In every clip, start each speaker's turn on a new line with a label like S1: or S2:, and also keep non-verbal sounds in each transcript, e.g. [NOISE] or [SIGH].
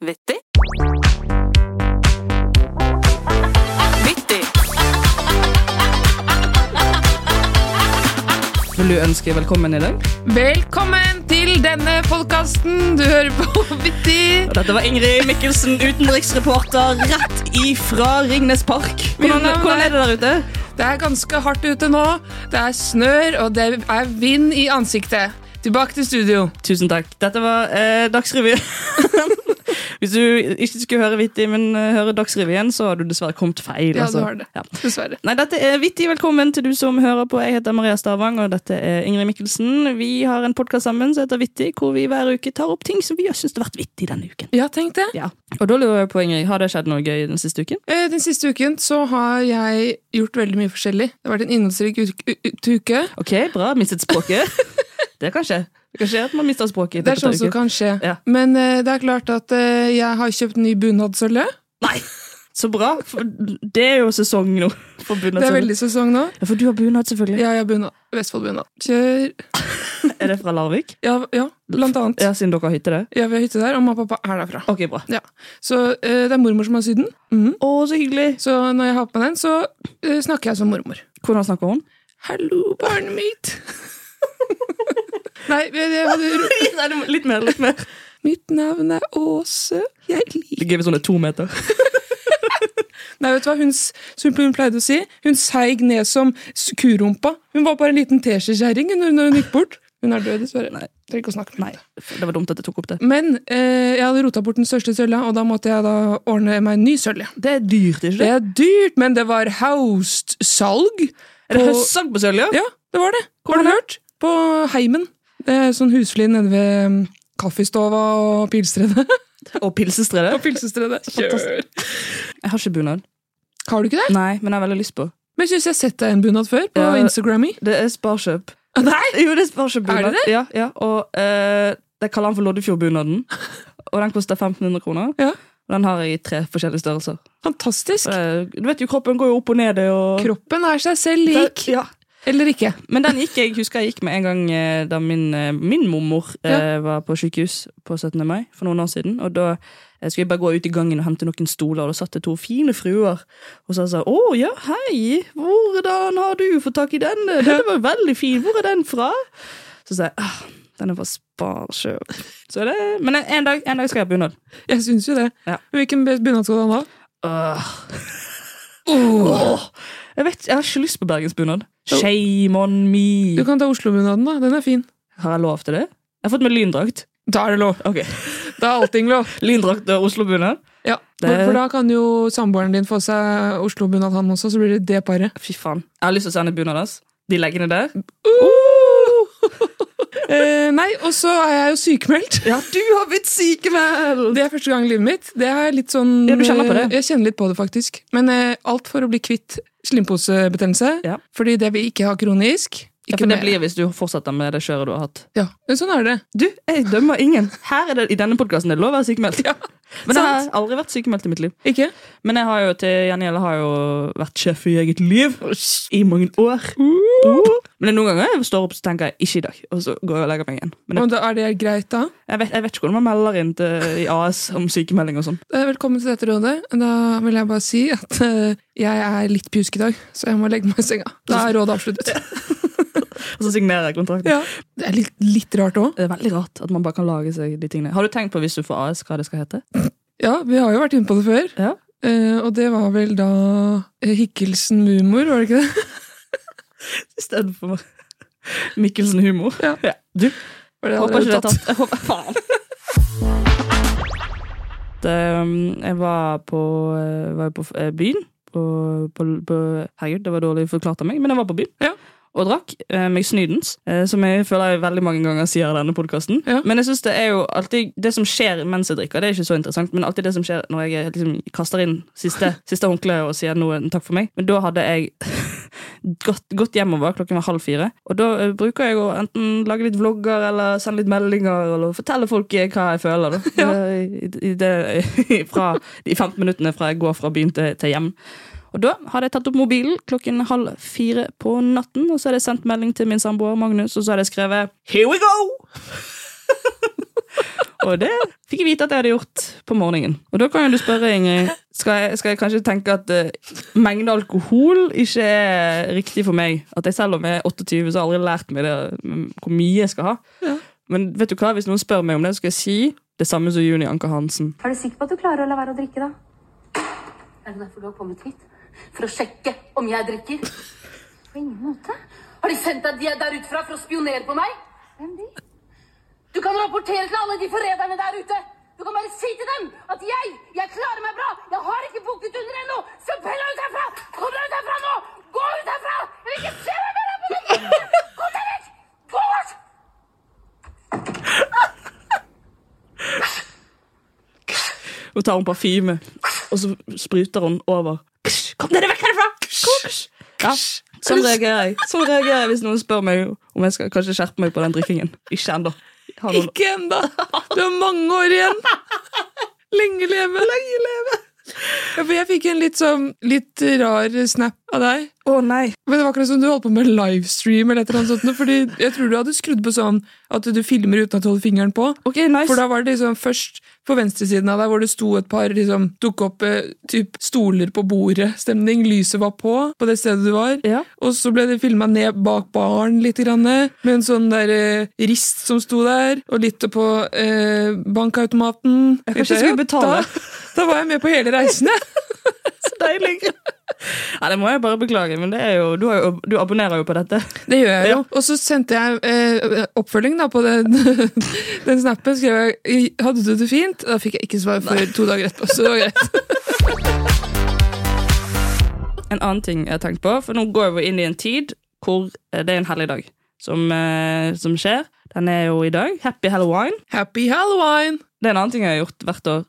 S1: Vittig. Vittig.
S2: Vil du ønske velkommen i dag?
S3: Velkommen til denne podkasten. Du hører på [LAUGHS] Vittig.
S2: Dette var Ingrid Mikkelsen, utenriksreporter, rett ifra Ringnes Park. Hvordan,
S3: Hvordan er-
S2: hvordan er det der ute?
S3: Det er ganske hardt ute nå. Det er snør, og det er vind i ansiktet. Tilbake til studio.
S2: Tusen takk. Dette var eh, Dagsrevyen. [LAUGHS] Hvis du ikke skulle høre Vittig, men eh, høre Dagsrevyen, så har du dessverre kommet feil.
S3: Ja,
S2: altså.
S3: du har det.
S2: Ja.
S3: Dessverre.
S2: Nei, dette er Vittig. Velkommen til du som hører på. Jeg heter Maria Stavang, og dette er Ingrid Mikkelsen. Vi har en podkast sammen som heter Vittig, hvor vi hver uke tar opp ting som vi har syntes har vært vittig denne uken.
S3: Ja, tenk det.
S2: Ja. Og da lurer jeg på, Ingrid, har det skjedd noe gøy den siste uken?
S3: Eh, Den siste uken så har jeg gjort veldig mye forskjellig. Det har vært en innholdsrik ut- u- u- uke.
S2: Ok, bra. Mistet
S3: [LAUGHS]
S2: språket. det kan skje. Det kan skje at man mister språket. i
S3: Det er
S2: løpet av
S3: sånn som
S2: uken.
S3: kan skje.
S2: Ja.
S3: Men eh, det er klart at eh, jeg har kjøpt ny bunadsølle.
S2: Nei! Så bra. For det er jo sesong nå. For bunad.
S3: Det er veldig sesong nå.
S2: Ja, for du har bunad, selvfølgelig.
S3: Ja, jeg har bunad. Vestfoldbunad. Kjør
S2: Er det fra Larvik?
S3: ja, ja, blant annet.
S2: Ja, siden dere har hytte der.
S3: Ja, vi har hytte der, og mamma og pappa er derfra.
S2: Ok, bra.
S3: Ja, Så eh, det er mormor som har sydd den. Mhm.
S2: Å, så hyggelig.
S3: Så når jeg har på meg den, så eh, snakker jeg som mormor.
S2: Hvordan
S3: [LAUGHS]
S2: snakker hun?
S3: Hallo, barnet mitt. [LAUGHS] Nei, jeg, jeg hadde ro-
S2: Nei, du må- litt mer, litt mer.
S3: Mitt navn er Åse. Jeg
S2: Det
S3: liker
S2: er gøy hvis hun er to meter.
S3: Nei, vet du hva hun, s- som hun pleide å si? Hun seig ned som s- kurumpa. Hun var bare en liten teskjekjerring hun- når hun gikk bort. Hun er død, dessverre. Nei. Trenger ikke å snakke med henne.
S2: Det var dumt at jeg tok opp det.
S3: Men eh, jeg hadde rota bort den største sølja, og da måtte jeg da ordne meg en ny sølje.
S2: Det er dyrt, ikke
S3: Det er dyrt, men det var haust-salg.
S2: Er det
S3: på-
S2: høstsang på Sølja?
S3: Ja, det var det. har du hørt? På Heimen. Det er sånn husfly nede ved mm, kaffestova og [LAUGHS] pilstredet.
S2: Og pilsestredet?
S3: Pilsestredet. [LAUGHS] Kjør!
S2: Fantastisk. Jeg har ikke bunad.
S3: Har du ikke det?
S2: Nei, men jeg har veldig lyst på.
S3: Men jeg syns jeg har sett deg i en bunad før. På
S2: Ja.
S3: Instagrammy.
S2: Det er Sparkjøp.
S3: Nei!
S2: Jo, det er Sparkjøp-bunad.
S3: Er det
S2: Ja, ja. Og eh, det kaller han for Loddefjord-bunaden. Og den koster 1500 kroner.
S3: Ja.
S2: Og den har jeg i tre forskjellige størrelser.
S3: Fantastisk.
S2: Og det- Du vet jo, kroppen går jo opp og ned. det, Og...
S3: Kroppen er seg selv lik.
S2: Ja.
S3: Eller ikke.
S2: Men den gikk jeg husker jeg gikk med en gang eh, da min, eh, min mormor eh, var på sykehus på 17. mai for noen år siden. Og da eh, skulle jeg bare gå ut i gangen og hente noen stoler, og da satt det to fine fruer. Og så sa hun 'Å ja, hei, hvordan har du fått tak i denne? Denne var veldig fin. Hvor er den fra?' Så sa jeg ah, 'Den er fra Sparsjøp'. Så det, men en- en dag, en dag skal jeg ha bunad.
S3: Jeg syns jo det.
S2: Ja.
S3: Hvilken bunad skal du ha? da?
S2: Åh. Jeg vet, jeg har ikke lyst på bergensbunad. Shame on me.
S3: Du kan ta Oslo-bunaden, da. Den er fin.
S2: Har jeg lov til det? Jeg har fått med lyndrakt.
S3: Da er det lov.
S2: Ok.
S3: Da er allting lov.
S2: Lyndrakt og Oslo-bunad.
S3: [LAUGHS] Ja.
S2: Det-
S3: For, for da kan jo samboeren din få seg Oslo-bunad, han også, så blir det det paret.
S2: Fy faen. Jeg har lyst til å sende bunad hans. De leggene der.
S3: Uh! [LAUGHS] Eh, nei, og så er jeg jo sykemeldt.
S2: Ja, du har blitt sykemeldt!
S3: Det er første gang i livet mitt. Det er litt sånn...
S2: Ja, du kjenner på det.
S3: eh, Jeg kjenner litt på det, faktisk. Men eh, alt for å bli kvitt slimposebetennelse.
S2: Ja.
S3: Fordi det vi ikke har kronisk.
S2: Ja,
S3: Ikke
S2: for det
S3: mer.
S2: blir hvis du fortsetter med det kjøret du har hatt.
S3: Ja, men sånn er det.
S2: Du, jeg dømmer ingen. Her er det, I denne podkasten er det lov å være sykemeldt.
S3: Ja,
S2: [LAUGHS] Men jeg har
S3: sant.
S2: aldri vært sykemeldt i mitt liv.
S3: Ikke?
S2: Men jeg har jo til gjengjeld har jo vært sjef i eget liv i mange år. Uh. Men det er noen ganger jeg står opp og tenker jeg, ikke i dag, og så går jeg og legger meg igjen. Men det,
S3: Og da er det greit da.
S2: jeg, vet, jeg vet ikke hvordan man melder inn til, i AS om sykemelding og sånn.
S3: Eh, Velkommen til dette rådet. Da vil jeg bare si at eh, jeg er litt pjusk i dag, så jeg må legge meg i senga. Da er rådet avsluttet.
S2: [LAUGHS] Og så signerer jeg kontrakten.
S3: Ja. Det er litt, litt rart også.
S2: Det er veldig rart at man bare kan lage seg de tingene. Har du tenkt på hvis du får AS, hva det skal hete?
S3: Ja, vi har jo vært inne på det før.
S2: Ja.
S3: Eh, og det var vel da eh, Hikkelsen Mumor, var det ikke det?
S2: I stedet for [LAUGHS] Mikkelsen humor.
S3: Ja.
S2: Du,
S3: Var det
S2: jeg håper ikke det
S3: allerede
S2: er tatt. Jeg håper, faen. [LAUGHS] Det, um, jeg var på, eh, var jo på eh, byen. På, på, på, herregud, det var dårlig forklart av meg, men jeg var på byen.
S3: Ja.
S2: Og drakk eh, meg snydens, eh, som jeg føler jeg veldig mange ganger sier i denne podkasten.
S3: Ja.
S2: Men jeg synes det er jo alltid det som skjer mens jeg drikker, det er ikke så interessant, men alltid det som skjer når jeg liksom kaster inn siste, siste håndkle og sier noe takk for meg. Men da hadde jeg [LAUGHS] gått, gått hjemover, klokken var halv fire, og da eh, bruker jeg å enten lage litt vlogger eller sende litt meldinger eller fortelle folk eh, hva jeg føler, da. Eh, I, i det, [LAUGHS] fra de 15 minuttene fra jeg går fra byen til, til hjem. Og da hadde jeg tatt opp mobilen klokken halv fire på natten, og så hadde jeg sendt melding til min samboer Magnus, og så hadde jeg skrevet 'Here we go'! [LAUGHS] Og det fikk jeg vite at jeg hadde gjort på morgenen. Og da kan jo du spørre, Ingrid, skal jeg, skal jeg kanskje tenke at eh, mengde alkohol ikke er riktig for meg? At jeg selv om jeg er 28, så har jeg aldri lært meg det, mm, hvor mye jeg skal ha.
S3: Ja.
S2: Men vet du hva, hvis noen spør meg om det, så skal jeg si det samme som Juni Anker Hansen.
S1: Er du sikker på at du klarer å la være å drikke, da? Er det derfor du har kommet hit? For å sjekke om jeg drikker? På ingen måte. Har de sendt deg de er der utenfra for å spionere på meg? Hvem de? Du kan rapportere til alle de forræderne der ute! Du kan bare si til dem at jeg, jeg klarer meg bra! Jeg har ikke bukket under ennå! Så pell deg ut herfra! Kom deg ut herfra nå! Gå ut herfra! Jeg vil ikke se deg mer her på den måten! Kom deg vekk! Gå bort!
S2: Og tar hun parfyme, og så spruter hun over. Ksh, Kom dere vekk herfra! Ksh, ksh. Ja, sånn reagerer jeg. Sånn reagerer jeg hvis noen spør meg om jeg skal kanskje skjerpe meg på den drikkingen. Ikke ennå. Har noen-
S3: Ikke ennå! Du har mange år igjen. Lenge leve. Lenge leve. Ja, for jeg fikk en litt sånn litt rar snap av deg.
S2: Å nei.
S3: Men det var akkurat som du holdt på med livestream eller et eller annet sånt. nå, Fordi jeg tror du hadde skrudd på sånn at du filmer uten at du holder fingeren på.
S2: Ok, nice.
S3: For da var det liksom først på venstresiden av deg hvor det sto et par liksom, tok opp eh, typ stoler på bordet-stemning. Lyset var på på det stedet du var.
S2: Ja.
S3: Og så ble det filma ned bak baren litt, grann, med en sånn der eh, rist som sto der, og litt på eh, bankautomaten.
S2: Jeg kanskje skulle betale.
S3: Da, da var jeg med på hele
S2: [LAUGHS]
S3: reisen, jeg.
S2: Så deilig. Nei, det må jeg bare beklage, men det er jo, du, har jo, du abonnerer jo på dette.
S3: Det gjør jeg jo.
S2: Ja.
S3: Og så sendte jeg eh, oppfølging da på den, [LAUGHS] den snappen. Skrev jeg 'Hadde du det fint?' Da fikk jeg ikke svar før to dager etterpå. Så det var greit.
S2: En annen ting jeg har tenkt på, for nå går vi inn i en tid hvor eh, det er en helligdag som, eh, som skjer. Den er jo i dag. Happy Halloween.
S3: Happy Halloween!
S2: Det er en annen ting jeg har gjort hvert år.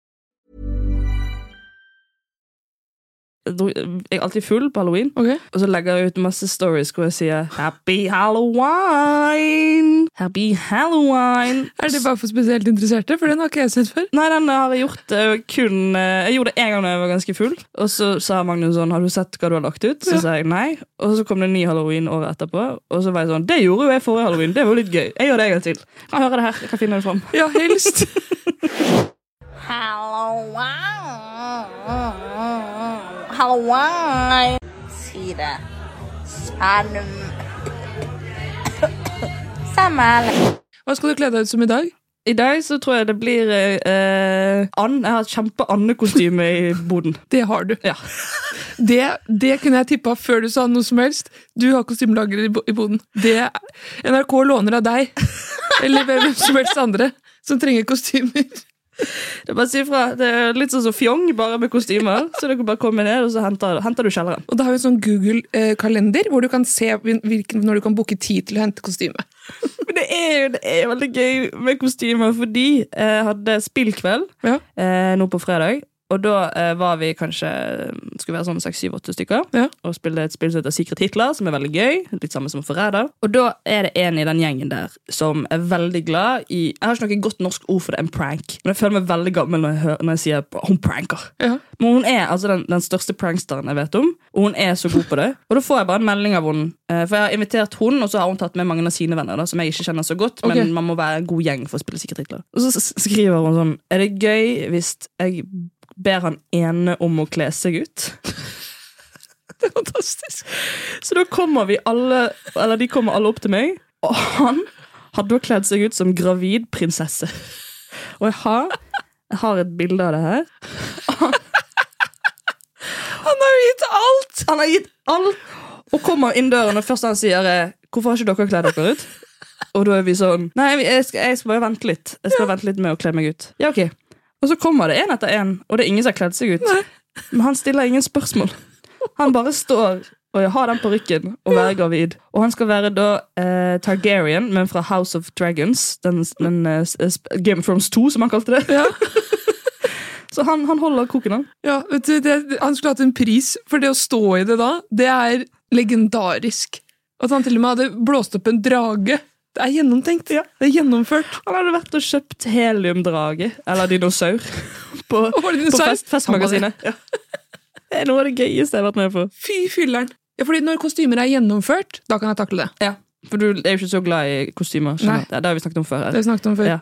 S2: Jeg dro- jeg er alltid full på halloween,
S3: Ok.
S2: og så legger jeg ut masse stories hvor jeg sier 'Happy Halloween'! Happy Halloween!
S3: [LAUGHS] Er det bare for spesielt interesserte? For den har ikke jeg sett før.
S2: Nei, den har jeg gjort eh, kun eh, Jeg gjorde det en gang da jeg var ganske full. Og så sa Magnus sånn, har du sett hva du har lagt ut? Så sa jeg nei. Og så kom det en ny halloween året etterpå. Og så var jeg sånn, det gjorde jo jeg forrige halloween. Det var jo litt gøy. Jeg gjør det en gang til. Jeg kan høre det her. Jeg kan finne det fram.
S3: Ja, helst.
S4: Halloween. Halloween. Si det. Salm. Samuel.
S3: Hva skal du kle deg ut som i dag?
S2: I dag så tror jeg det blir eh, eh, and. Jeg har et kjempe-andekostyme i boden.
S3: Det har du.
S2: Ja.
S3: [LAUGHS] Det, det kunne jeg tippa før du sa noe som helst. Du har kostymelagrer i bo- i boden. Det NRK låner av deg. Eller hvem som helst andre som trenger kostymer.
S2: Det er bare å si fra. Det er litt sånn som fjong, bare med kostymer. Så dere bare kommer ned, og så henter, henter du kjelleren.
S3: Og det har jo en sånn Google-kalender hvor du kan se hvil- hvilken, når du kan booke tid til å hente kostyme.
S2: Men det er jo det er veldig gøy med kostymer, fordi jeg hadde spillkveld
S3: Ja.
S2: eh, nå på fredag. Og da eh, var vi kanskje skulle være sånn 6-7-8 stykker
S3: Ja.
S2: og spilte et spill som heter Secret Hitler, som er veldig gøy. Litt samme som Forræder. Og da er det en i den gjengen der som er veldig glad i Jeg har ikke noe godt norsk ord for det, en prank, men jeg føler meg veldig gammel når jeg, hører, når jeg sier hun pranker.
S3: Ja.
S2: Men hun er altså den, den største pranksteren jeg vet om, og hun er så god på det. Og da får jeg bare en melding av henne. Eh, For jeg har invitert hun, og så har hun tatt med mange av sine venner, da, som jeg ikke kjenner så godt,
S3: Ok.
S2: men man må være en god gjeng for å spille Secret Hitler. Og så s- skriver hun sånn Er det gøy hvis jeg ber han ene om å kle seg ut? [LAUGHS] Det er fantastisk. Så da kommer vi alle Eller de kommer alle opp til meg, og han hadde hun kledd seg ut som gravid prinsesse. Og jeg har, jeg har et bilde av det her.
S3: Han har jo gitt alt!
S2: Han har gitt all Og kommer inn døren, og først han sier er, Hvorfor har ikke dere kledd dere ut? Og da er vi sånn Nei, jeg skal, jeg skal bare vente litt. Jeg skal vente litt med å kle meg ut. Ja, ok. Og så kommer det en etter en, og det er ingen som har kledd seg ut. Men han stiller ingen spørsmål. Han bare står og har den parykken og være gravid. Og han skal være da eh, Targaryen, men fra House of Dragons. Den, den, eh, sp- Game of Thrones 2, som han kalte det. [LAUGHS] så han, han holder koken, han.
S3: Ja, vet du, det, Han skulle hatt en pris, for det å stå i det da, det er legendarisk. At han til og med hadde blåst opp en drage. Det er gjennomtenkt. Det er gjennomført.
S2: Han hadde vært og kjøpt heliumdrage, eller dinosaur, [LAUGHS] på,
S3: var det
S2: på
S3: dinosaur?
S2: fest, Festmagasinet. Ja. [LAUGHS] Det er noe av det gøyeste jeg har vært med på.
S3: Fy filleren. Ja, fordi når kostymer er gjennomført, da kan jeg takle det.
S2: For du er jo ikke så glad i kostymer. skjønner
S3: Nei.
S2: jeg. Det har vi snakket om før.
S3: Det har
S2: Her.
S3: vi snakket om før.
S2: Ja.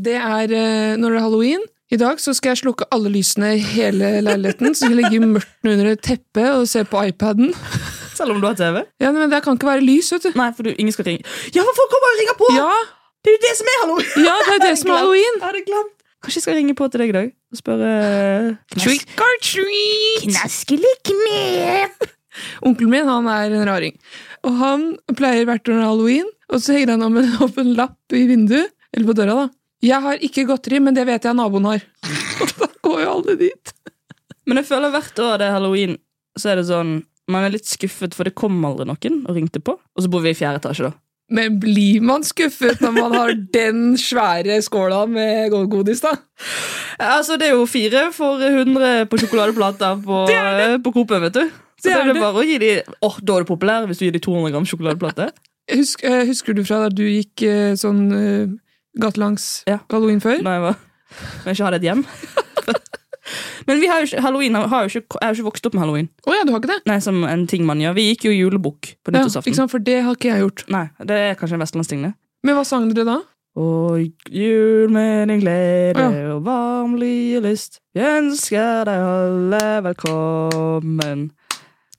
S3: [CLEARS THROAT] Det er eh, når det er halloween. I dag så skal jeg slukke alle lysene i hele leiligheten. Så skal jeg ligge i mørket under et teppe og se på iPaden.
S2: Selv om du har TV.
S3: Ja, nei, men Det kan ikke være lys, vet du.
S2: Nei, for du, ingen skal ringe. Ja, for folk kommer og ringer på!
S3: Ja,
S2: Det er jo [LAUGHS] det som er halloween!
S3: ja det er jo det som er halloween!
S2: Jeg hadde glemt. Kanskje jeg skal ringe på til deg i dag og spørre
S3: Trick or treat!
S2: Knaskelig knep!
S3: Onkelen min han er en raring. Og han pleier hvert år når det er halloween, og så henger han om en, [LAUGHS] opp en lapp i vinduet, eller på døra, da. 'Jeg har ikke godteri, men det vet jeg naboen har.' [LAUGHS] Og da går jo alle dit.
S2: Men jeg føler hvert år det er halloween, så er det sånn Man er litt skuffet, for det kom aldri noen og ringte på. Og så bor vi i fjerde etasje, da.
S3: Men blir man skuffet når man [LAUGHS] har den svære skåla med godis, da?
S2: Ja, Altså, det er jo fire for 100 på sjokoladeplater på, eh, på Coop-en, vet du. Så
S3: Det
S2: det
S3: er
S2: er det
S3: det.
S2: bare å gi de Åh, da er du populær hvis du gir de 200 gram sjokoladeplate.
S3: Husk, eh, husker du fra da du gikk eh, sånn eh, gatelangs
S2: Ja.
S3: halloween før?
S2: Når jeg var Når jeg ikke hadde et
S3: [LAUGHS]
S2: hjem. Men vi har jo ikke, halloween har jo ikke, jeg har jo ikke vokst opp med halloween.
S3: Å ja, du har ikke det?
S2: Nei, som en ting man gjør. Vi gikk jo julebukk på
S3: Ja, ikke
S2: nyttårsaften.
S3: sant, For det har ikke jeg gjort.
S2: Nei, det er kanskje en vestlandsting, det.
S3: Men hva sang dere da?
S2: Og jul med din glede
S3: Å,
S2: og varm lyelyst. Vi ønsker deg alle velkommen.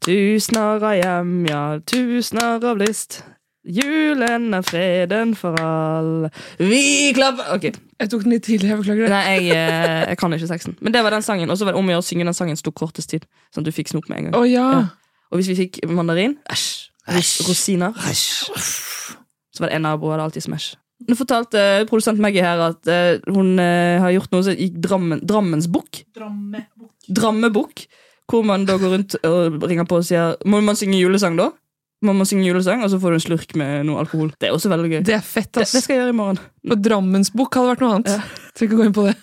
S2: Tusener av hjem, ja, tusener av lyst. Julen er freden for alle. Vi klapper Ok.
S3: Jeg tok den litt tidlig, jeg beklager det.
S2: Nei, jeg, eh, jeg kan ikke teksten. Men det var den sangen. Og så var det om å gjøre å synge den sangen sto kortest tid. Sånn at du fikk snop med en gang.
S3: Å ja.
S2: Ja. Og hvis vi fikk mandarin æsj, ros- Rosiner æsj, Så var det en nabo hadde alltid smash Nå fortalte eh, produsent Maggie her at eh, hun eh, har gjort noe som gikk Drammen, Drammensbukk Drammebukk Hvor man da går rundt og ringer på og sier Må man synge julesang da? Må man synge julesang, og så får du en slurk med noe alkohol Det er også veldig gøy Det,
S3: Det er fett,
S2: det
S3: ass.
S2: skal jeg gjøre i morgen
S3: På Drammensbukk hadde vært noe annet. Trenger ikke gå inn på det.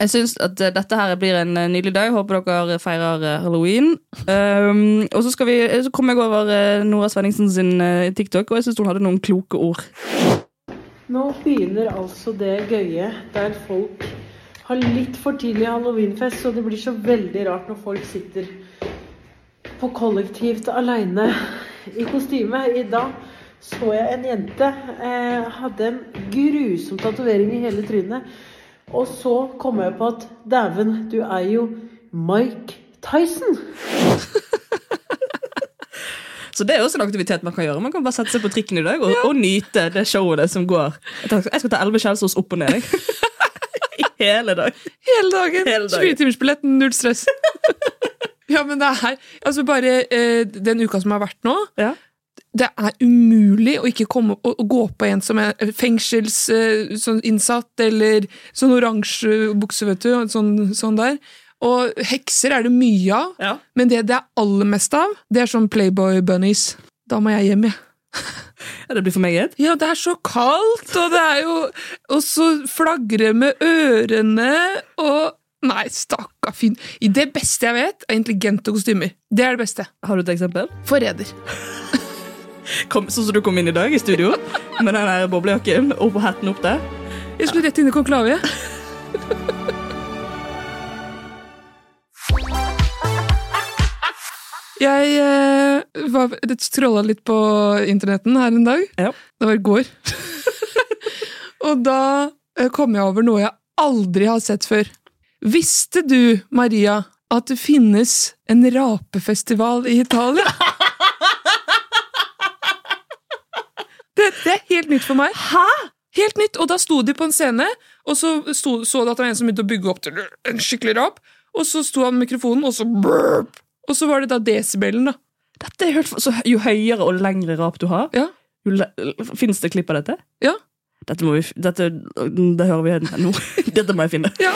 S2: Jeg syns at eh, dette her blir en eh, nydelig dag. Håper dere feirer eh, halloween. Um, og så, skal vi, eh, så kom jeg over eh, Nora Svenningsen sin eh, TikTok, og jeg syns hun hadde noen kloke ord.
S5: Nå begynner altså det gøye der folk har litt for tidlig halloweenfest, så det blir så veldig rart når folk sitter på kollektivt aleine i kostyme. I dag så jeg en jente eh, hadde en grusom tatovering i hele trynet. Og så kom jeg på at dæven, du er jo Mike Tyson!
S2: Så det er også en aktivitet man kan gjøre. Man kan bare sette seg på trikken i dag og, og nyte det showet det som går. Jeg tar- jeg skal ta elleve Kjelsås opp og ned. [LAUGHS] jeg. I hele dag.
S3: Hele dagen!
S2: Hele dagen.
S3: 24-timersbillett, null [LAUGHS] stress. ja, men det er Altså, bare eh, den uka som har vært nå
S2: Ja.
S3: Det er umulig å ikke komme, å, å gå på en som er fengselsinnsatt, eh, sånn innsatt, eller sånn oransje bukse, vet du, og sånn, sånn der. Og hekser er det mye av,
S2: Ja.
S3: men det det er aller mest av, det er sånn Playboy bunnies. Da må jeg hjem, jeg. [LAUGHS]
S2: Ja, Det blir for meg et.
S3: Ja, det er så kaldt, og det er jo Og så flagre med ørene og Nei, stakka fin. I Det beste jeg vet, er intelligente kostymer. Det er det beste.
S2: Har du et eksempel?
S3: Forræder.
S2: Kom, sånn som du kom inn i dag i studio, med den der boblejakken og hatten opp der.
S3: Jeg skulle rett inn i konklave. Jeg eh, var, scrolla litt på internetten her en dag.
S2: Ja.
S3: Det var i går. [LAUGHS] Og da eh, kom jeg over noe jeg aldri har sett før. Visste du, Maria, at det finnes en rapefestival i Italia? helt nytt for meg. Hæ? Helt nytt, Og da sto de på en scene, og så sto, så de at det var en som begynte å bygge opp til en skikkelig rap. Og så sto han med mikrofonen, og så burp. Og så var det da desibelen, da.
S2: Dette er helt, f- så Jo høyere og lengre rap du har,
S3: Ja.
S2: jo le fins det klipp av dette?
S3: Ja.
S2: Dette må vi, f- dette, det hører vi her nå. [LAUGHS] Dette må jeg finne.
S3: ja.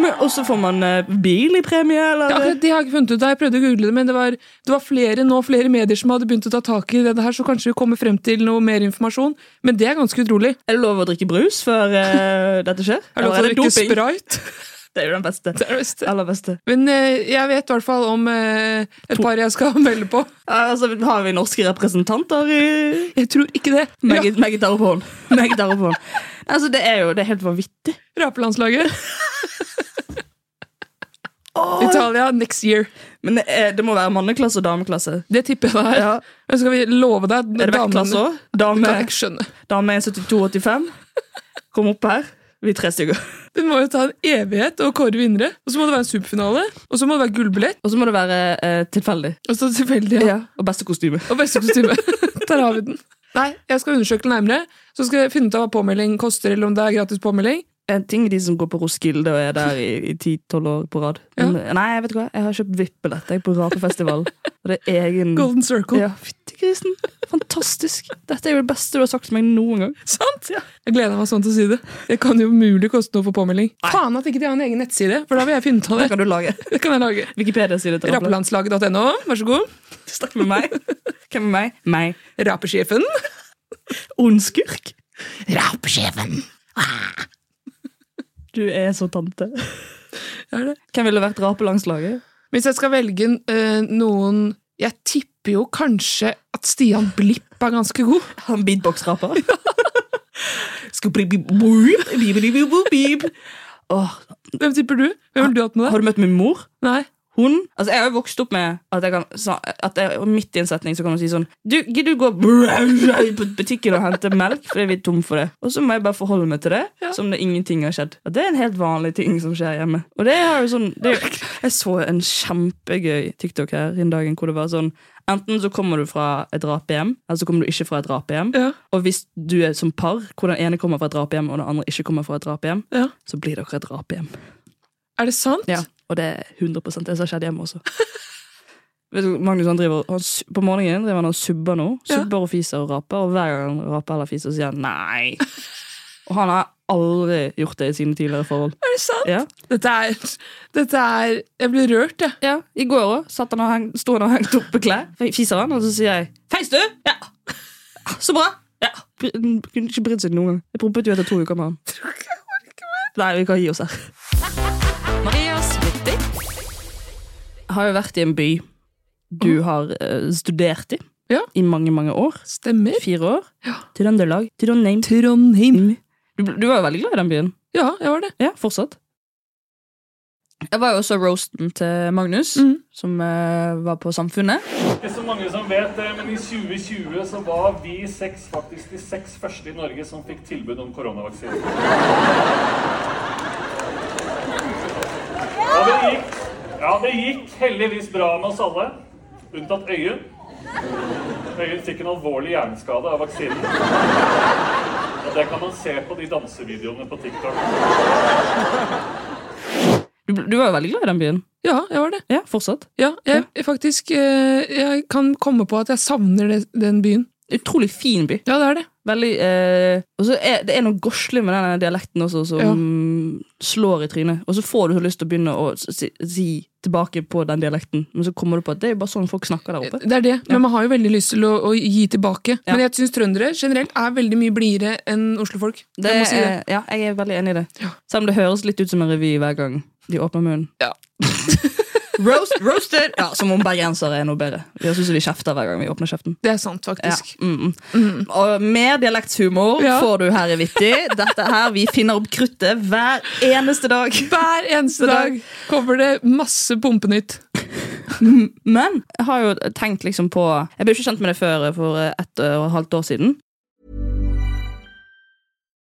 S2: Men også får man eh, bil i premie, eller?
S3: Ja, akkurat det har jeg ikke funnet ut av. Jeg prøvde å google det, men det var, det var flere nå, flere medier som hadde begynt å ta tak i dette her, så kanskje vi kommer frem til noe mer informasjon. Men det er ganske utrolig.
S2: Er det lov å drikke brus før
S3: [LAUGHS]
S2: eh, dette skjer?
S3: Er det lov
S2: Eller
S3: til å drikke sprite?
S2: Det er jo den beste.
S3: [LAUGHS] Det er det beste.
S2: Aller beste.
S3: Men eh, jeg vet i hvert fall om eh, et par jeg skal [LAUGHS] melde på.
S2: Ja, altså, har vi norske representanter i
S3: [LAUGHS] Jeg tror ikke det.
S2: Med
S3: Ra
S2: git- med gitar og pål. Med gitar og pål. Altså, det er jo det er helt vanvittig. [LAUGHS]
S3: Rapelandslaget. Italia next year.
S2: Men det, er, det må være manneklasse og dameklasse.
S3: Det tipper jeg det er.
S2: Ja.
S3: Men skal vi love deg at
S2: Er det
S3: damene-
S2: vektklasse òg?
S3: Det
S2: Dame,
S3: kan jeg ikke skjønne.
S2: dame er 72,85. Kom opp her. Vi er tre stykker.
S3: Det må jo ta en evighet å kåre vinnere. Og så må det være en superfinale. Og så må det være gullbillett.
S2: Og så må det være eh, tilfeldig.
S3: Og så tilfeldig. Ja.
S2: Og beste kostyme.
S3: Og beste kostyme. [LAUGHS] Der har vi den. Nei, jeg skal undersøke det nærmere. Så skal jeg finne ut av hva påmelding koster, eller om det er gratis påmelding.
S2: En ting er de som går på Roskilde og er der i, i 10-12 år på rad. Men, Nei, jeg vet ikke hva. Jeg har kjøpt VIP-billett jeg, på Rapefestival. Og det er egen
S3: Golden circle.
S2: Ja, fytti grisen. Fantastisk. Dette er jo det beste du har sagt til meg noen gang.
S3: Sant? Jeg gleder meg sånn til å si det. Det kan jo umulig koste noe for påmelding. Faen at ikke de har en egen nettside, for da vil jeg finne ut av
S2: Kan
S3: det.
S2: du lage
S3: [LAUGHS] Det kan jeg lage.
S2: Wikipedia-side til Rappeland?
S3: Rappelandslaget.no, vær så god.
S2: Snakk med meg. Hvem er meg? Meg.
S3: Rapesjefen.
S2: Ond skurk?
S3: Rapesjefen.
S2: Du er så tante.
S3: Er det?
S2: Hvem ville vært rapelangslaget?
S3: Hvis jeg skal velge eh, noen Jeg tipper jo kanskje at Stian Blipp er ganske god.
S2: Han [LAUGHS] beatbox-raper. Åh,
S3: Hvem tipper du? Hvem vil du ha hatt med
S2: Har
S3: deg?
S2: du møtt min mor?
S3: Nei.
S2: Hun Altså, jeg har jo vokst opp med at jeg kan sa- at jeg, og midt i en setning så kan hun si sånn Du, gidder du gå på butikken og hente melk fordi vi er tom for det? Og så må jeg bare forholde meg til det som det ingenting har skjedd. Og det er en helt vanlig ting som skjer hjemme. Og det er jo sånn
S3: [LAUGHS]
S2: det, er jo- Jeg så en kjempegøy TikTok her en dag hvor det var sånn Enten så kommer du fra et rapehjem, eller så kommer du ikke fra et rapehjem.
S3: Ja.
S2: Og hvis du er som par, hvor den ene kommer fra et rapehjem og den andre ikke kommer fra et rapehjem,
S3: Ja.
S2: så blir dere et rapehjem.
S3: Er det sant?
S2: Ja, og det er 100 det som har skjedd hjemme også. [LAUGHS] Vet du, Magnus han driver, han, su- På morgenen driver han og subber nå.
S3: Ja.
S2: Subber og fiser og raper, og hver gang han raper eller fiser, så sier han [LAUGHS] nei. Og han har aldri gjort det i sine tidligere forhold.
S3: Er det sant?
S2: Ja.
S3: Dette er, dette er Jeg blir rørt, jeg.
S2: Ja, I går òg sto han og heng- sto han og hengte opp på klær. Fiser han, og så sier jeg 'Feis, du!' Ja. Så bra! Ja. Bry- Kunne ikke brydd seg noen gang. Jeg prompet jo etter to uker med han. Nei, vi kan gi oss her. Jeg har jo vært i en by du har eh, studert i
S3: Mm. Ja.
S2: i mange, mange år.
S3: Stemmer.
S2: Fire år. Trøndelag. Trondheim.
S3: Trondheim.
S2: Du, ble- du var jo veldig glad i den byen.
S3: Ja, jeg var det.
S2: Ja, fortsatt. Jeg var jo også roasten til Magnus,
S3: Mhm.
S2: som eh, var på Samfunnet.
S6: Ikke så mange som vet det, men i 2020 så var vi seks faktisk de seks første i Norge som fikk tilbud om koronavaksine. Og det gikk, ja, det gikk heldigvis bra med oss alle, unntatt Øyunn. Øyunn fikk en alvorlig hjerneskade av vaksinen. Og det kan man se på de dansevideoene på TikTok.
S2: Du, ble- du var jo veldig glad i den byen.
S3: Ja, jeg var det.
S2: Ja, fortsatt.
S3: Ja, jeg, jeg faktisk eh, Jeg kan komme på at jeg savner det, den byen.
S2: Utrolig fin by.
S3: Ja, det er det.
S2: Veldig, eh, og så er Det er noe godslig med den dialekten også, som slår i trynet. Og så får du så lyst til å begynne å si, si tilbake på den dialekten, men så kommer du på at det er jo bare sånn folk snakker der oppe.
S3: Det er det, Men man har jo veldig lyst til å, å gi tilbake.
S2: Ja.
S3: Men jeg syns trøndere generelt er veldig mye blidere enn oslofolk.
S2: Det
S3: jeg må si det.
S2: er- ja, jeg er veldig enig i det. Selv om det høres litt ut som en revy hver gang de åpner munnen.
S3: Ja.
S2: [LAUGHS] Roast, roasted! Ja, Som om bergensere er noe bedre. Jeg synes vi kjefter hver gang vi åpner kjeften.
S3: Det er sant, faktisk.
S2: Ja. Mm, mm. Og mer dialektshumor
S3: Ja.
S2: får du her i Vittig. Dette her, Vi finner opp kruttet hver eneste dag.
S3: Hver eneste dag kommer det masse pumpenytt.
S2: Men jeg har jo tenkt liksom på Jeg ble ikke kjent med det før eh, for eh, ett og et halvt år siden.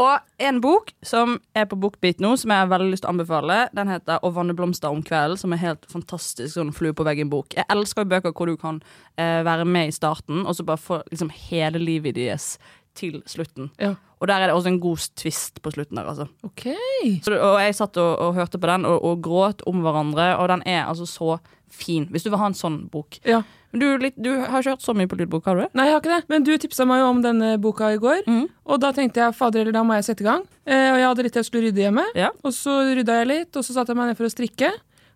S2: Og en bok som er på Bookbeat nå, som jeg har veldig lyst til å anbefale, den heter Å vanne blomster om kvelden, som er helt fantastisk sånn flue på veggen-bok. Jeg elsker jo bøker hvor du kan eh, være med i starten, og så bare få liksom hele livet deres til slutten.
S3: Ja.
S2: Og der er det også en god twist på slutten der, altså.
S3: Ok.
S2: Så, og jeg satt og, og hørte på den, og, og gråt om hverandre, og den er altså så fin. Hvis du vil ha en sånn bok.
S3: Ja.
S2: Men Du, er litt, du har ikke hørt så mye på lydbok, har du det?
S3: Nei, jeg har ikke det. Men du tipsa meg jo om denne boka i går. Og da tenkte jeg fader eller da må jeg sette i gang. Eh, og jeg hadde litt til jeg skulle rydde hjemme.
S2: Ja.
S3: Og så rydda jeg litt, og så satte jeg meg ned for å strikke.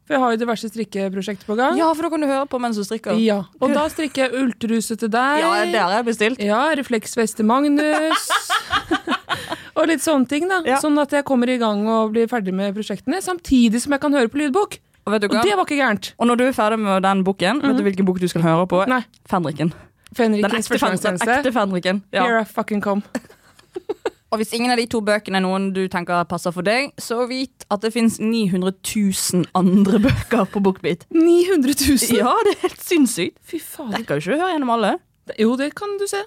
S3: For jeg har jo diverse strikkeprosjekter på gang.
S2: Ja, for da kan du høre på mens du strikker.
S3: Ja. Og da strikker jeg ultruse til deg.
S2: Ja, det har jeg bestilt.
S3: Ja, refleksvest
S2: [LAUGHS]
S3: til Magnus. og litt sånne ting, da.
S2: Ja.
S3: Sånn at jeg kommer i gang og blir ferdig med prosjektene, samtidig som jeg kan høre på lydbok.
S2: Og vet du
S3: Og
S2: hva?
S3: det var ikke gærent.
S2: Og når du er ferdig med den boken, vet du hvilken bok du skal høre på?
S3: Nei.
S2: Fenriken. Den ekte,
S3: Fenrikens
S2: fen den ekte
S3: førstegangstjeneste.
S2: Fenriken.
S3: Here
S2: Ja.
S3: I fucking
S2: [LAUGHS]
S3: come.
S2: Og hvis ingen av de to bøkene er noen du tenker passer for deg, så vit at det fins 900 000 andre [LAUGHS] bøker på Bookbeat.
S3: 900 000!
S2: Ja, det er helt sinnssykt.
S3: Fy fader.
S2: Jeg kan jo ikke høre gjennom alle.
S3: Jo, det kan du se.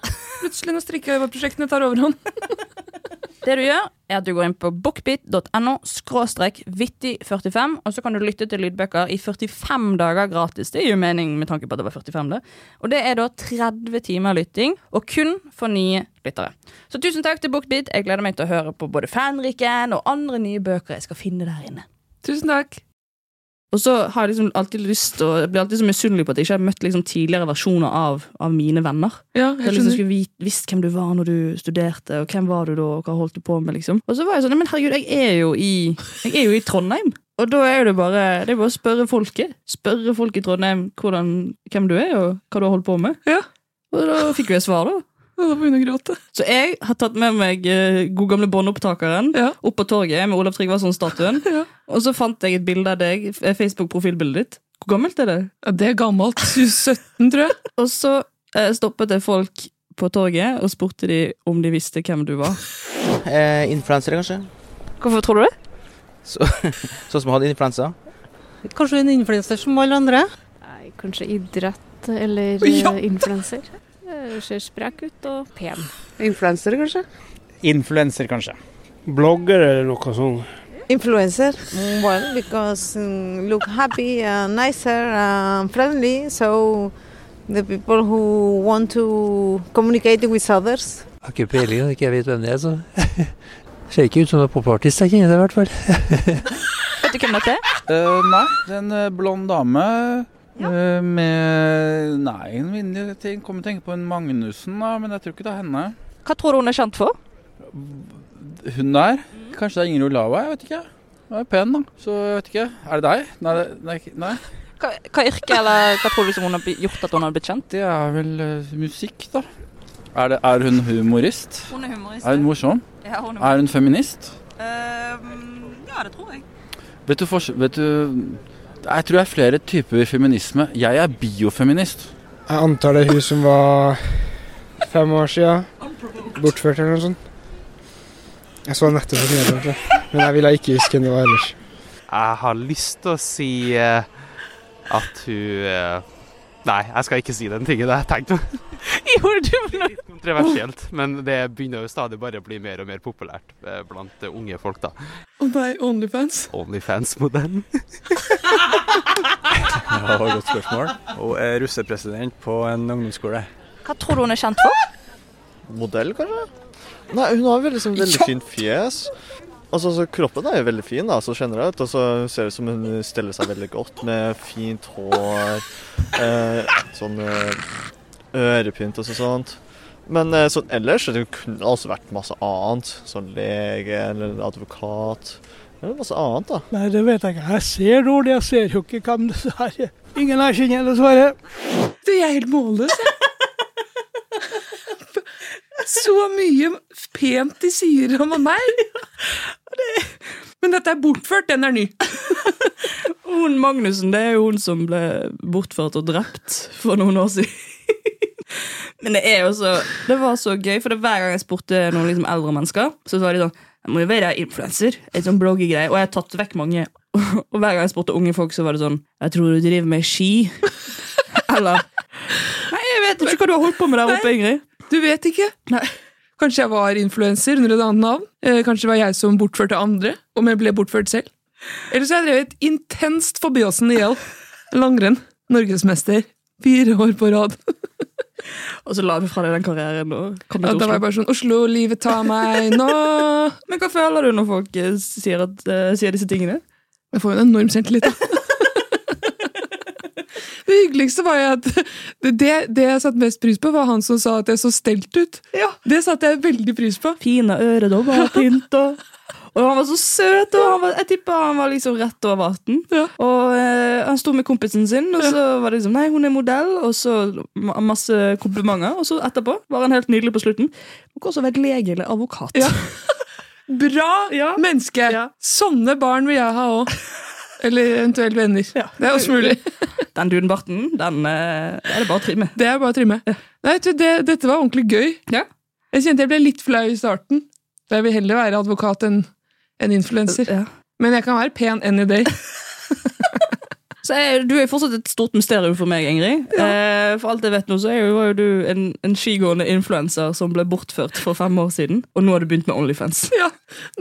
S3: Plutselig når strikkeprosjektene tar overhånd.
S2: Det du gjør, er at du går inn på bookbit.no skråstrek vittig45, og så kan du lytte til lydbøker i 45 dager gratis. Det gir jo mening med tanke på at det var 45, det. Og det er da 30 timer lytting, og kun for nye lyttere. Så tusen takk til Bookbit. Jeg gleder meg til å høre på både Fanriken og andre nye bøker jeg skal finne der inne.
S3: Tusen takk.
S2: Og så har jeg liksom alltid lyst og Jeg blir alltid så misunnelig på at jeg ikke har møtt liksom tidligere versjoner av, av mine venner.
S3: Ja,
S2: Jeg
S3: jeg
S2: liksom
S3: skjønner.
S2: skulle vit, visst hvem du var når du studerte, og hvem var du da, og hva holdt du på med, liksom. Og så var jeg sånn, «Nei, men herregud, jeg er jo i, jeg er jo i Trondheim. Og da er jo det bare, det er bare å spørre folket. Spørre folk i Trondheim hvordan, hvem du er, og hva du har holdt på med.
S3: Ja.
S2: Og da fikk jo jeg svar, da.
S3: Alle begynner å gråte.
S2: Så jeg har tatt med meg eh, god gamle båndopptakeren
S3: Ja.
S2: opp på torget med Olav Tryggvason-statuen.
S3: [LAUGHS] Ja.
S2: Og så fant jeg et bilde av deg, f- eh, Facebook-profilbildet ditt. Hvor gammelt er det?
S3: Ja, det er gammelt. 17, tror jeg.
S2: Og så eh, stoppet jeg folk på torget og spurte de om de visste hvem du var.
S7: Eh, influensere, kanskje.
S2: Hvorfor tror du det?
S7: Sånn som hadde influensa.
S5: Kanskje en influenser som alle andre?
S4: Nei, kanskje idrett eller eh,
S3: Ja.
S4: influenser. Ser sprek ut og pen.
S5: Influensere, kanskje?
S7: Influenser, kanskje.
S6: Blogger eller noe sånt.
S5: Influencer. Mm, Well, because um, look happy, uh, nicer, uh, friendly. So the people who want to communicate with others.
S7: Har ikke peiling, når ikke jeg vet hvem det er, så Ser ikke ut som en popartist, jeg kjenner det i hvert fall.
S2: Vet du hvem dette er?
S7: nei, det er en eh, blond dame eh, med Nei, en vinner ting. Kommer til å tenke på en Magnussen, da, men jeg tror ikke det er henne.
S2: Hva tror du hun er kjent for?
S7: Hun der? Kanskje det er Ingrid Olava? Jeg vet ikke. Hun er pen, da. Så jeg vet ikke. Er det deg? Nei, det- nei, ikke- nei.
S2: Hva, hva yrke eller hva tror du som hun har bli- gjort at hun har blitt kjent?
S7: det er vel eh, musikk, da. Er, det, er hun humorist?
S2: Hun er humorist.
S7: Er hun morsom?
S2: Ja, hun Ehm,
S7: Er hun feminist?
S2: ja, det tror jeg.
S7: Vet du, fors- vet du Jeg tror det er flere typer feminisme. Jeg er biofeminist.
S6: Jeg antar det er hun som var fem år siden. Bortført eller noe sånt. Jeg så nettopp et nedlag, men jeg ville ikke huske hvem det var ellers.
S7: Jeg har lyst til å si at hun Nei, jeg skal ikke si den tingen jeg tenkte.
S2: Gjorde du noe?
S7: Kontroversielt. Men det begynner jo stadig bare å bli mer og mer populært blant unge folk, da.
S3: Å nei, Onlyfans.
S7: Onlyfans-modellen.
S6: Godt spørsmål. Hun er russepresident på en ungdomsskole.
S2: Hva tror du hun er kjent for?
S6: Modell, kanskje? Nei, hun har vel liksom veldig fint fjes. Altså, så Kroppen er jo veldig fin, da, så generelt. Og så ser det ut som hun steller seg veldig godt med fint hår. Eh, sånn eh,
S8: ørepynt og så- sånt. Men eh, sånn ellers det kunne også vært masse annet. Sånn lege eller advokat. Eller masse annet, da.
S9: Nei, det vet jeg ikke. Jeg ser dårlig, jeg ser jo ikke hvem det er. Ingen jeg kjenner, dessverre.
S3: Du, jeg er helt målløs, jeg. Så mye pent de sier om meg. Men dette er bortført, den er ny.
S2: Hun Magnussen, det er jo hun som ble bortført og drept for noen år siden. Men det er jo så Det var så gøy, for det hver gang jeg spurte noen liksom eldre mennesker, så var de sånn Jeg må jo være influenser. Et sånn bloggegreie. Og jeg har tatt vekk mange. Og hver gang jeg spurte unge folk, så var det sånn Jeg tror du driver med ski. Eller Nei, jeg vet ikke hva du har holdt på med der oppe, Ingrid.
S3: Du vet ikke. Kanskje jeg var influenser under et annet navn. Eh, Kanskje det var jeg som bortførte andre, om jeg ble bortført selv. Eller så har jeg drevet intenst forbiåsen i hjel. Langrenn. Norgesmester. Fire år på rad.
S2: Og så la du fra deg den karrieren og kom
S3: Ja,
S2: til
S3: da var jeg bare
S2: Oslo.
S3: sånn Oslo, livet tar meg nå.
S2: Men hva føler du når folk eh, sier, at, eh, sier disse tingene?
S3: Jeg får jo en enorm selvtillit, da. Det hyggeligste var jo at det, det jeg satte mest pris på, var han som sa at jeg så stelt ut. Det satte jeg veldig pris på.
S2: Fine øredobber og pynt og Og han var så søt, og han var, jeg tipper han var liksom rett over 18. Og eh, han sto med kompisen sin, og så var det liksom Nei, hun er modell, og så ma- masse komplimenter. Og så etterpå var han helt nydelig på slutten. Du kan også være lege eller advokat.
S3: Bra menneske! Sånne barn vil jeg ha òg. Eller eventuelt venner. Det er også mulig.
S2: Den dunbarten, den eh, er det bare å trimme.
S3: Det er bare å trimme. Nei, vet du, det, dette var ordentlig gøy. Jeg kjente jeg ble litt flau i starten. Jeg vil heller være advokat enn en influenser. Men jeg kan være pen any day.
S2: Så er, Du er fortsatt et stort mysterium for meg, Ingrid. Eh, for alt jeg vet nå, så er jo, var jo du en, en skigående influenser som ble bortført for fem år siden, og nå har du begynt med Onlyfans.
S3: [LAUGHS] Ja,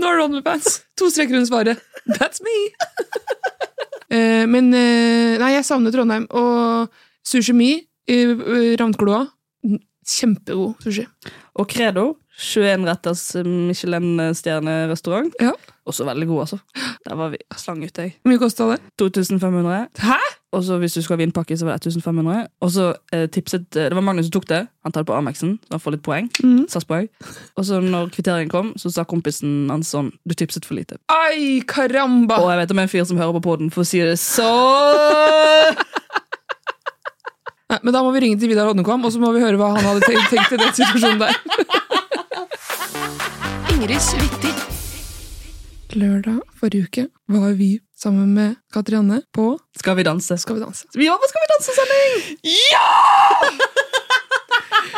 S3: nå er det OnlyFans. To streker under svaret. That's me! [LAUGHS] Eh, men eh, Nei, jeg savner Trondheim. Og Sushi Me, eh, eh, Ravnkloa, kjempegod sushi.
S2: Og Credo, 21 retters Michelin-stjernerestaurant. Også veldig god, altså. Der var vi slang ut, jeg.
S3: Hvor mye kosta det?
S2: 2500.
S3: Hæ?
S2: Og så Hvis du skulle ha vinpakke, så var det 1500. Og så eh, tipset, eh, Det var Magnus som tok det. Han tar det på Amexen, så han får litt poeng.
S3: Mhm.
S2: SAS-poeng. Og så når kvitteringen kom, så sa kompisen hans sånn Du tipset for lite.
S3: Ai, karamba!
S2: Og jeg vet om en fyr som hører på poden, for å si det så
S3: Nei, men da må vi ringe til Vidar Hodnekvam, og så må vi høre hva han hadde tenkt, tenkt i den situasjonen der.
S10: Ingrids vittig.
S3: Lørdag forrige uke var vi sammen med Katrianne på
S2: Skal vi danse?
S3: Skal vi danse?
S2: Vi var på Skal vi danse-sending!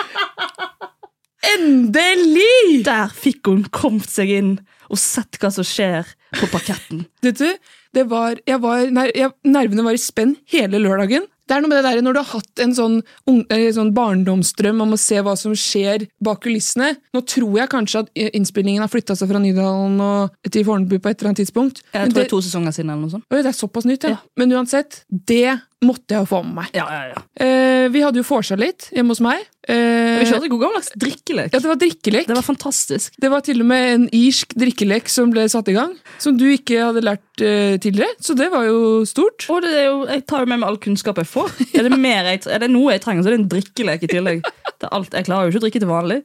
S2: [LAUGHS]
S3: Endelig!
S2: Der fikk hun kommet seg inn og sett hva som skjer på [LAUGHS] parketten.
S3: Vet du, det var, jeg var, ner- jeg, nervene var i spenn hele lørdagen. Det er noe med det der, Når du har hatt en sånn, ung, eh, sånn barndomsdrøm om å se hva som skjer bak kulissene Nå tror jeg kanskje at eh, innspillingen har flytta seg fra Nydalen og til Fornebu på et eller annet tidspunkt.
S2: Jeg
S3: Men
S2: tror det
S3: det-
S2: er to sesonger siden. eller noe sånt.
S3: Oi, det er såpass nytt, ja. Men uansett, det måtte jeg jo få med meg. Eh, vi hadde jo vorsa litt hjemme hos meg. Eh,
S2: Vi kjørte god gammeldags drikkelek.
S3: Ja, det var drikkelek. Det
S2: var fantastisk.
S3: Det var til og med en irsk drikkelek som ble satt i gang, som du ikke hadde lært eh, tidligere, så det var jo stort.
S2: Og det er jo, jeg tar jo med meg all kunnskap jeg får. Er det, mer jeg, er det noe jeg trenger, så er det en drikkelek i [LAUGHS] tillegg. Det er alt, jeg klarer jo ikke å drikke til vanlig.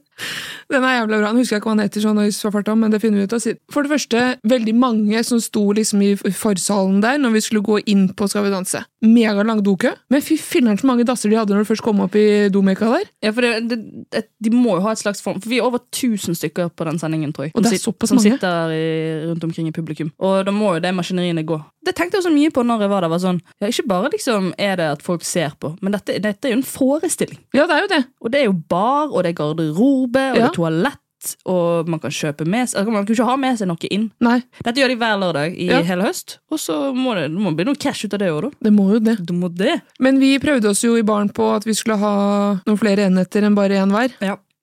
S3: Den er jævla bra. Nå husker jeg ikke hva han heter, sånn, i farta, men det finner vi ut av. siden. For det første, veldig mange som sto liksom i forsalen der når vi skulle gå inn på Skal vi danse. Megalang dokø. Men fy filler'n så mange dasser de hadde når de først kom opp i domeka der.
S2: Ja, for det, det, det, De må jo ha et slags form For vi er over 1000 stykker på den sendingen, tror jeg.
S3: Og det er
S2: Som sit-
S3: såpass
S2: som
S3: mange?
S2: sitter i, rundt omkring i publikum. Og da må jo de maskineriene gå. Det tenkte jeg så mye på når jeg var der. var sånn, ja, Ikke bare liksom er det at folk ser på, men dette, dette er jo en forestilling.
S3: Ja, det er jo det.
S2: Og det er jo bar, og det er garderobe, og det
S3: Ja.
S2: er toalett. Og man kan kjøpe med seg altså, Man kan ikke ha med seg noe inn. Dette gjør de hver lørdag i
S3: Ja.
S2: hele høst. Og så må det, det må bli noe cash ut av det òg, da.
S3: Det må jo det.
S2: Du må det.
S3: Men vi prøvde oss jo i baren på at vi skulle ha noen flere enheter enn bare én hver.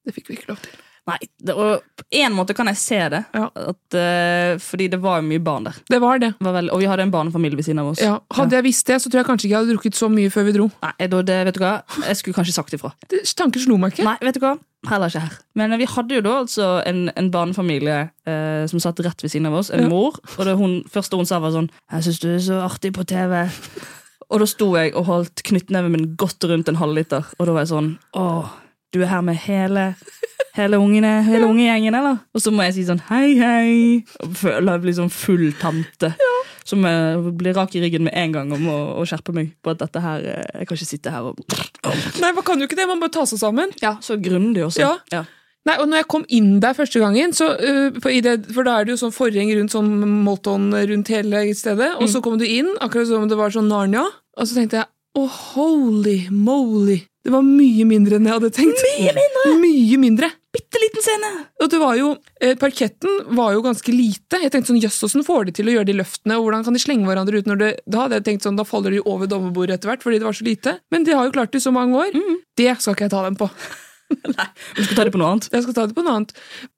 S3: Det fikk vi ikke lov til.
S2: Nei, det, og på en måte kan jeg se det, at, eh, fordi det var jo mye barn der.
S3: Det var det.
S2: Var veldig- og vi hadde en barnefamilie ved siden av oss.
S3: Ja, hadde jeg visst det, så tror jeg kanskje ikke jeg hadde drukket så mye før vi dro.
S2: Nei, da, det, vet du hva? Jeg skulle kanskje sagt ifra.
S3: Det, tanken slo meg ikke.
S2: Nei, vet du hva? Heller ikke her. Men vi hadde jo da altså en, en barnefamilie eh, som satt rett ved siden av oss. En
S3: Ja.
S2: mor. Og det hun, første hun sa, var sånn 'Jeg syns du er så artig på TV'. Og da sto jeg og holdt knyttneven min godt rundt en halvliter, og da var jeg sånn Åh, du er her med hele Hele ungene, hele ungegjengen, eller? Og så må jeg si sånn hei, hei. Og føler jeg blir sånn full tante. Som eh, blir rak i ryggen med en gang og må og skjerpe meg på at dette her eh, Jeg kan ikke sitte her og
S3: Nei, man kan jo ikke det. Man må ta seg sammen.
S2: Ja, så grundig også.
S3: Ja. Nei, og når jeg kom inn der første gangen, så, øh, på- i det, for da er det jo sånn forheng rundt sånn Molton rundt hele stedet, og så kom du inn, akkurat som om det var sånn Narnia, og så tenkte jeg, å holy moly, det var mye mindre enn jeg hadde tenkt. Mye mindre! [LAUGHS] Mye mindre.
S2: Bitteliten scene!
S3: Og det var jo, eh, parketten var jo ganske lite. Jeg tenkte sånn, jøss, hvordan får de til å gjøre de løftene, og hvordan kan de slenge hverandre ut når det, da hadde jeg tenkt sånn, da faller de jo over dommerbordet etter hvert, fordi det var så lite. Men de har jo klart det i så mange år. Det skal ikke jeg ta dem på.
S2: Du skal ta det på noe annet?
S3: Jeg skal ta det på noe annet.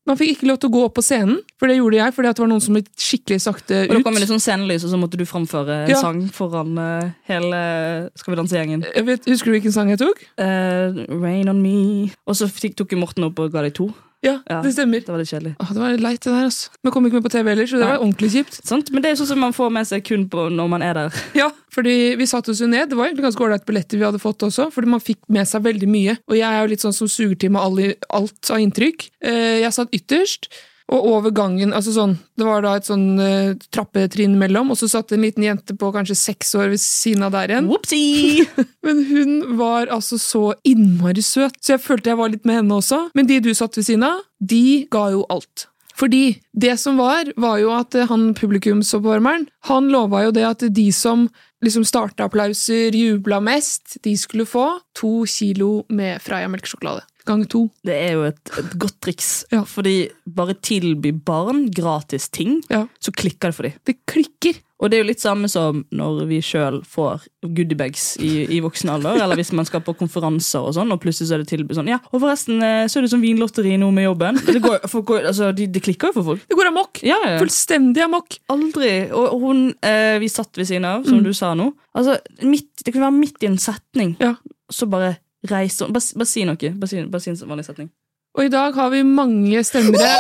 S3: Man fikk ikke lov til å gå opp på scenen, for det gjorde jeg, fordi at det var noen som gikk skikkelig sakte ut.
S2: Og da kom det litt sånn scenelys, og så måtte du framføre en
S3: Ja.
S2: sang foran eh, hele Skal vi danse-gjengen.
S3: Jeg vet, husker du hvilken sang jeg tok?
S2: Rain on me. Og så fikk, tok jo Morten opp og ga deg to.
S3: Ja, det stemmer.
S2: Det var litt kjedelig.
S3: Åh, det var leit det der, altså. Men kom ikke med på TV heller, så det
S2: Nei.
S3: var ordentlig
S2: [LAUGHS]
S3: kjipt.
S2: Sant? Men det er jo sånn som man får med seg kun på når man er der.
S3: Ja, fordi vi satte oss jo ned. Det var egentlig ganske ålreit billetter vi hadde fått også, fordi man fikk med seg veldig mye. Og jeg er jo litt sånn som suger til meg alle- alt av inntrykk. Eh, Jeg satt ytterst, og over gangen altså sånn, Det var da et sånn eh, trappetrinn mellom, og så satt en liten jente på kanskje seks år ved siden av der igjen.
S2: Whoopsie!
S3: Men hun var altså så innmari søt, så jeg følte jeg var litt med henne også. Men de du satt ved siden av, de ga jo alt. Fordi det som var, var jo at eh, han publikumsoppvarmeren han lova jo det at de som liksom starta applauser, jubla mest, de skulle få to kilo med Freia melkesjokolade. Gang to.
S2: Det er jo et, et godt
S3: [LAUGHS]
S2: triks. Fordi bare tilby barn gratis ting, så klikker det for dem.
S3: Det klikker.
S2: Og det er jo litt samme som når vi sjøl får goodiebags i, i voksen alder, eller hvis man skal på konferanser og sånn, og plutselig så er det tilbud sånn Ja, og forresten, eh, så er det sånn vinlotteri nå med jobben. Det, går, folk går, altså, de, det klikker jo for folk.
S3: Det går amok.
S2: Ja, ja.
S3: Fullstendig amok.
S2: Aldri. Og og hun eh, vi satt ved siden av, som
S3: Mm.
S2: du sa nå altså, midt, Det kunne være midt i en setning,
S3: Ja.
S2: så bare reiser hun. Bare, si- bare si noe. Bare si, bare si en vanlig setning.
S3: Og i dag har vi mange stemmere. [LAUGHS]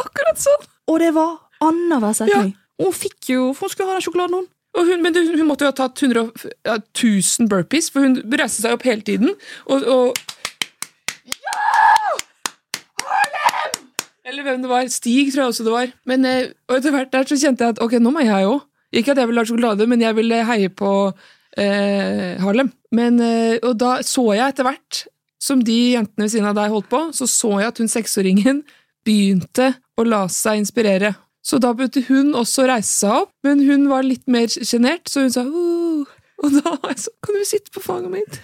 S3: Akkurat sånn!
S2: Og det var annenhver setning. Hun fikk jo, for hun skulle ha den sjokoladen, hun.
S3: Og hun, men hun, hun måtte jo ha tatt 100, og- ja, 1000 burpees, for hun reiste seg opp hele tiden. Og, og Eller hvem det var. Stig, tror jeg også det var. Men eh, og etter hvert der så kjente jeg at ok, nå må jeg òg. Ikke at jeg ville ha sjokolade, men jeg ville heie på eh, Harlem. Men, eh, og da så jeg etter hvert, som de jentene ved siden av deg holdt på, så så jeg at hun seksåringen begynte å la seg inspirere. Så da begynte hun også å reise seg opp, men hun var litt mer sjenert, så hun sa «Åh». Og da var jeg sånn Kan du sitte på fanget mitt?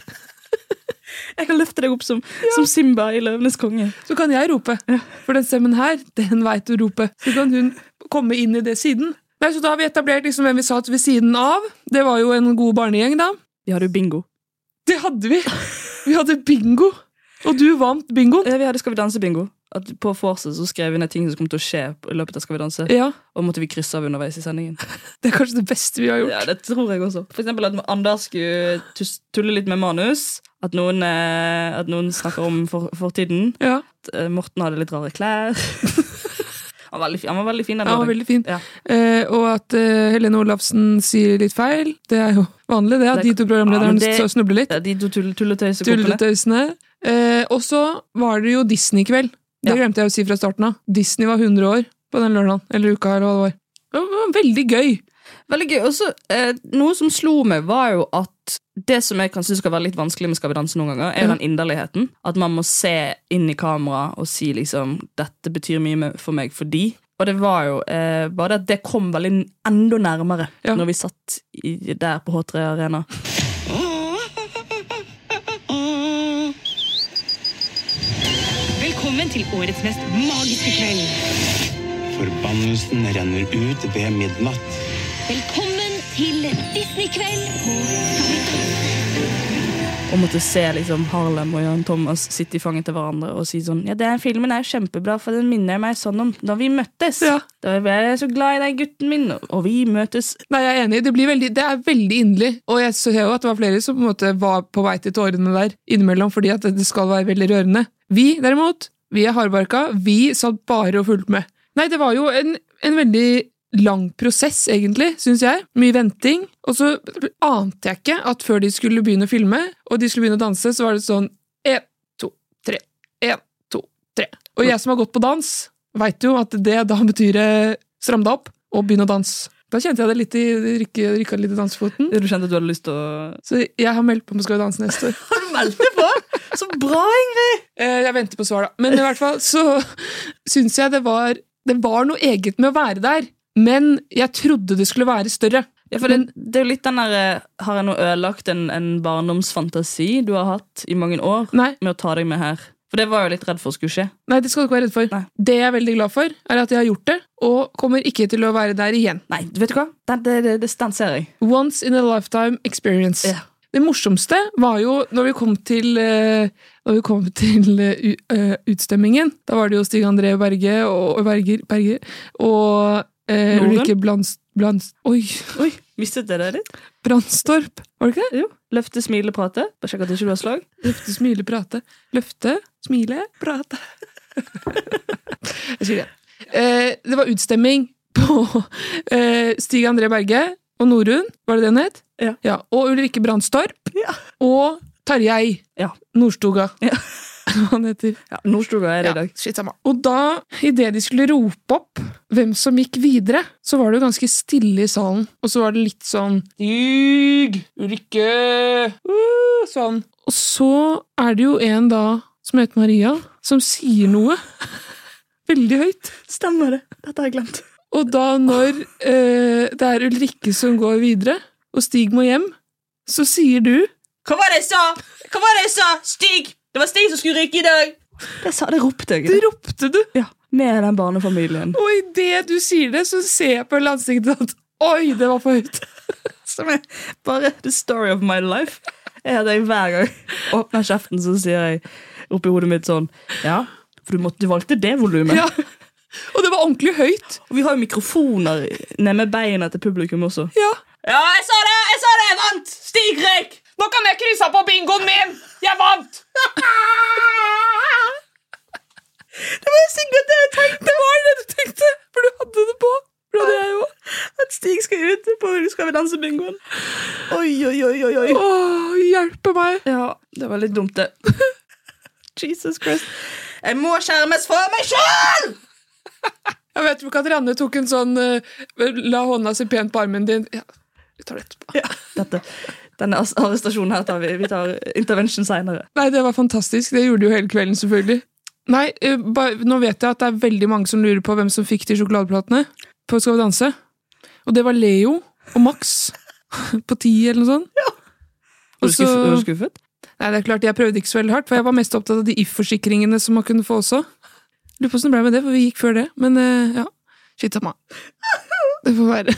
S2: Jeg kan løfte deg opp som, som Simba i Løvenes konge.
S3: Så kan jeg rope. For den stemmen her, den veit å rope. Så kan hun komme inn i det siden. Nei, så da har vi etablert liksom hvem vi satt ved siden av. Det var jo en god barnegjeng, da.
S2: Vi hadde jo bingo.
S3: Det hadde vi! Vi hadde bingo. Og du vant bingoen.
S2: Eh, Vi hadde Skal vi danse-bingo. At På Forse så skrev vi ned ting som kom til å skje i løpet av Skal vi danse.
S3: Ja.
S2: Og måtte vi krysse av underveis i sendingen.
S3: Det er kanskje det beste vi har gjort.
S2: Ja, det tror jeg også. For eksempel at Anders skulle tus- tulle litt med manus. At noen, eh, at noen snakker om for- fortiden. At eh, Morten hadde litt rare klær. [LAUGHS] han, var veldig, fin- han var veldig fin. den
S3: Ja,
S2: dagen.
S3: veldig fin.
S2: Ja.
S3: Eh, og at eh, Helene Olafsen sier litt feil. Det er jo vanlig, det. At de to
S2: Ja, men
S3: programlederne
S2: det-
S3: så snubler litt.
S2: Ja, de to tull- tulletøysekoppene.
S3: Tulletøysene. Eh, og så var det jo Disney-kveld. Det glemte jeg å si fra starten av. Disney var 100 år på den lørdagen. Eller uka, eller hva det var. Det var veldig gøy.
S2: Veldig gøy. Også, eh, noe som slo meg, var jo at det som jeg kan synes skal være litt vanskelig med Skal vi danse noen ganger, er jo
S3: Ja.
S2: den inderligheten. At man må se inn i kamera og si liksom 'Dette betyr mye me- for meg fordi'. Og det var jo eh, bare det at det kom veldig n- enda nærmere når vi satt i, der på H3 Arena.
S10: Velkommen til årets mest magiske kveld.
S11: Forbannelsen renner ut ved midnatt.
S10: Velkommen til Disneykveld på
S2: Og måtte se liksom Harlem og Jan Thomas sitte i fanget til hverandre og si sånn Ja, den filmen er kjempebra, for den minner meg sånn om da vi møttes. Da ble jeg så glad i den gutten min, og- og vi møtes.
S3: Nei, jeg er enig. Det, blir veldig, det er veldig inderlig. Og jeg ser jo at det var flere som på en måte var på vei til tårene der innimellom, fordi at det skal være veldig rørende. Vi, derimot, vi er hardbarka. Vi satt bare og fulgte med. Nei, det var jo en, en veldig lang prosess, egentlig, syns jeg. Mye venting. Og så ante jeg ikke at før de skulle begynne å filme, og de skulle begynne å danse, så var det sånn én, to, tre, én, to, tre. Og jeg som har gått på dans, veit jo at det da betyr eh, stram deg opp og begynn å danse. Da kjente jeg det litt i rykka, rykka litt i dansefoten.
S2: Du kjente at du hadde lyst til å
S3: Så jeg har meldt på om Skal vi danse neste
S2: [LAUGHS]
S3: år. Eh,
S2: Har du meldt deg på? Så bra, Ingrid!
S3: Jeg venter på svar, da. Men i hvert fall så syns jeg det var Det var noe eget med å være der, men jeg trodde det skulle være større.
S2: Ja, for det, det er jo litt den der eh, Har jeg nå ødelagt en, en barndomsfantasi du har hatt i mange år, med å ta deg med her? For det var jeg jo litt redd for skulle skje.
S3: Nei, det skal du ikke være redd for. Det jeg er veldig glad for, er at jeg har gjort det, og kommer ikke til å være der igjen.
S2: Nei, vet du hva? Det, det, det, det den ser jeg.
S3: Once in a lifetime experience. Det morsomste var jo når vi kom til, eh, når vi kom til eh, u- eh, utstemmingen. Da var det jo Stig André Berge og, og Berger, Berge, og eh,
S2: Norden?
S3: Ulrikke Blands, Blands... Oi!
S2: Oi, mistet det der litt?
S3: Brandstorp, var det ikke det?
S2: Jo. Løfte, smile, prate. Bare sjekk at ikke du har slag.
S3: Løfte, smile, prate. Løfte, smile, prate. Jeg sier det. Eh, det var utstemming på eh, Stig André Berge og Norun, var det det hun het?
S2: Ja.
S3: og Ulrikke Brandstorp. Og Tarjei Nordstoga. [LAUGHS] Hva han heter.
S2: Ja, Nordstoga er det i dag.
S3: Shit, samme. Og da, idet de skulle rope opp hvem som gikk videre, så var det jo ganske stille i salen. Og så var det litt sånn Stig! Ulrikke! Uh, sånn. Og så er det jo en da som heter Maria, som sier noe. [LAUGHS] Veldig høyt.
S2: Stemmer det. Dette har jeg glemt.
S3: Og da når eh, det er Ulrikke som går videre, og Stig må hjem, så sier du
S2: Hva var det jeg sa? Hva var det jeg sa? Stig! Det var Stig som skulle rykke i dag! Det sa, det ropte jeg. Det
S3: ropte du?
S2: Ja, Med den barnefamilien.
S3: Og idet du sier det, så ser jeg på hele ansiktet at Oi, det var for høyt!
S2: [LAUGHS] Som er bare the story of my life. Er at jeg hver gang åpner kjeften, så sier jeg oppi hodet mitt sånn Ja, for du, måtte, du valgte det volumet.
S3: Ja. [LAUGHS] Og det var ordentlig høyt.
S2: Og vi har jo mikrofoner nede med beina til publikum også.
S3: Ja.
S2: Ja, jeg sa det! Jeg sa det! Jeg vant! Stig røyk!
S3: Nå kan jeg krysse av på bingoen min! Jeg vant!
S2: Det var sikkert det jeg tenkte!
S3: Det var det du tenkte, for du hadde det på. For det hadde jeg jo.
S2: At Stig skal ut på Skal vi danse bingoen. Oi, oi, oi, oi. oi.
S3: [LAUGHS] Åh, hjelpe meg.
S2: Ja, det var litt dumt, det. [LAUGHS] Jesus Christ. Jeg må skjermes for meg sjøl!
S3: Jeg vet ikke at Ranne tok en sånn eh, La hånda si pent på armen din. Ja, vi tar det etterpå.
S2: Denne arres- arrestasjonen her tar vi. Vi tar intervention seinere.
S3: Nei, det var fantastisk. Det gjorde jo hele kvelden, selvfølgelig. Nei, eh, ba, nå vet jeg at det er veldig mange som lurer på hvem som fikk de sjokoladeplatene på Skal vi danse. Og det var Leo og Max [LAUGHS] på ti eller noe sånt.
S2: Var
S3: Og
S2: du
S3: så-
S2: skuffet? Var du skuffet?
S3: Nei, det er klart, Jeg prøvde ikke så veldig hardt, for jeg var mest opptatt av de if-forsikringene som man kunne få også. Lurer på hvordan det ble med det, for vi gikk før det. Men eh, ja, shit amma. Det får være.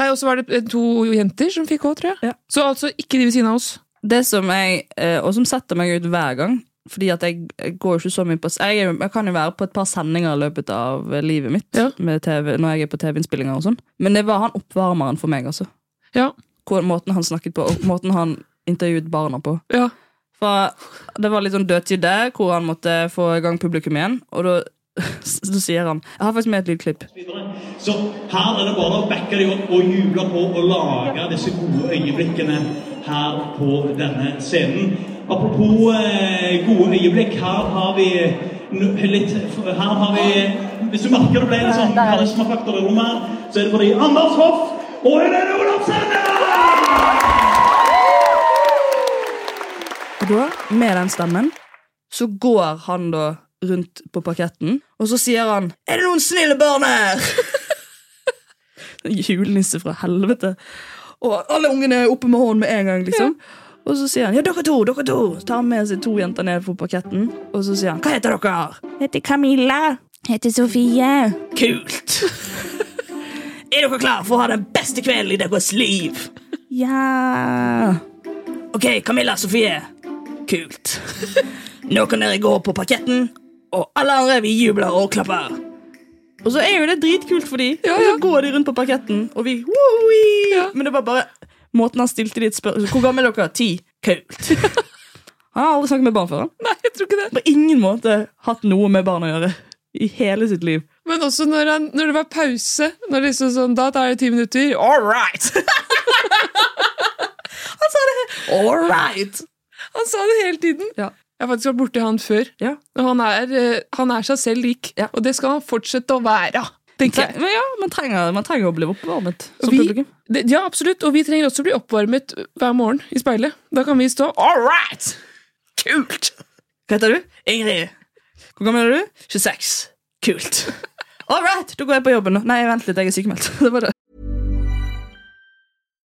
S3: Nei, Og så var det eh, to jenter som fikk òg, tror jeg. Så altså ikke de ved siden av oss.
S2: Det som jeg, eh, og som setter meg ut hver gang fordi at jeg, jeg går jo ikke så mye på jeg, er jo- jeg kan jo være på et par sendinger i løpet av eh, livet mitt med TV, når jeg er på TV-innspillinger og sånn. Men det var han oppvarmeren for meg, altså.
S3: Ja.
S2: Hvor, måten han snakket på, og måten han intervjuet barna på.
S3: Ja.
S2: For det var litt sånn dødtid der, hvor han måtte få i gang publikum igjen. Og da, [LAUGHS] da sier han Jeg har faktisk med et lydklipp.
S12: Så her er det bare å backe deg opp og juble på og lage disse gode øyeblikkene her på denne scenen. Apropos eh, gode øyeblikk, her har vi n- litt Her har vi Hvis du merker det ble en sånn karismafaktor i rommet her, så er det fordi Anders Hoff og Helene Olafsen!
S2: Og da, med den stemmen, så går han da rundt på parketten, og så sier han Er det noen snille barn her? [LAUGHS] Julenisse fra helvete. Og alle ungene er oppe med hånden med en gang, liksom. Og så sier han ja, dere to, dere to. Så tar han med seg to jenter ned på parketten, og så sier han hva heter dere? Heter Camilla. Heter Sofie. Kult! er dere klare for å ha den beste kvelden i deres liv? Ja Ok, Camilla Sofie. Kult. Nå kan dere gå på parketten, og alle andre vi jubler og klapper. Og så er jo det dritkult for de. Og så går de rundt på parketten, og vi woi! Men det var bare måten han stilte de et spørsmål Hvor gammel er dere? Ti?
S3: [LAUGHS]
S2: Kult. Han har aldri snakket med barn før. han.
S3: Nei, jeg tror ikke det.
S2: På ingen måte hatt noe med barn å gjøre i hele sitt liv.
S3: Men også når, han, når det var pause. Når det liksom sånn, Da tar det ti minutter. All right! [LAUGHS] han sa det All right! Han sa det hele tiden. Jeg har faktisk vært borti han før. Og han er, eh, han er seg selv lik, og det skal han fortsette å være. tenker jeg.
S2: Men ja, man trenger, man trenger å bli oppvarmet som
S3: Og vi-
S2: publikum.
S3: Det, ja, absolutt. Og vi trenger også å bli oppvarmet hver morgen i speilet. Da kan vi stå All right! Kult!
S2: Hva heter du? Ingrid. Hvor gammel er du? 26. Kult. All right, da går jeg på jobben nå. Nei, vent litt, jeg er sykemeldt. [LAUGHS] Det var det.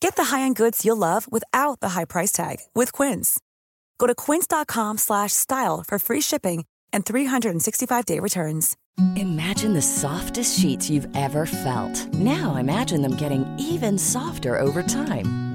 S13: Get the high-end goods you'll love without the high price tag with Quince. Go to quince.com/style slash style for free shipping and 365-day returns.
S14: Imagine the softest sheets you've ever felt. Now imagine them getting even softer over time.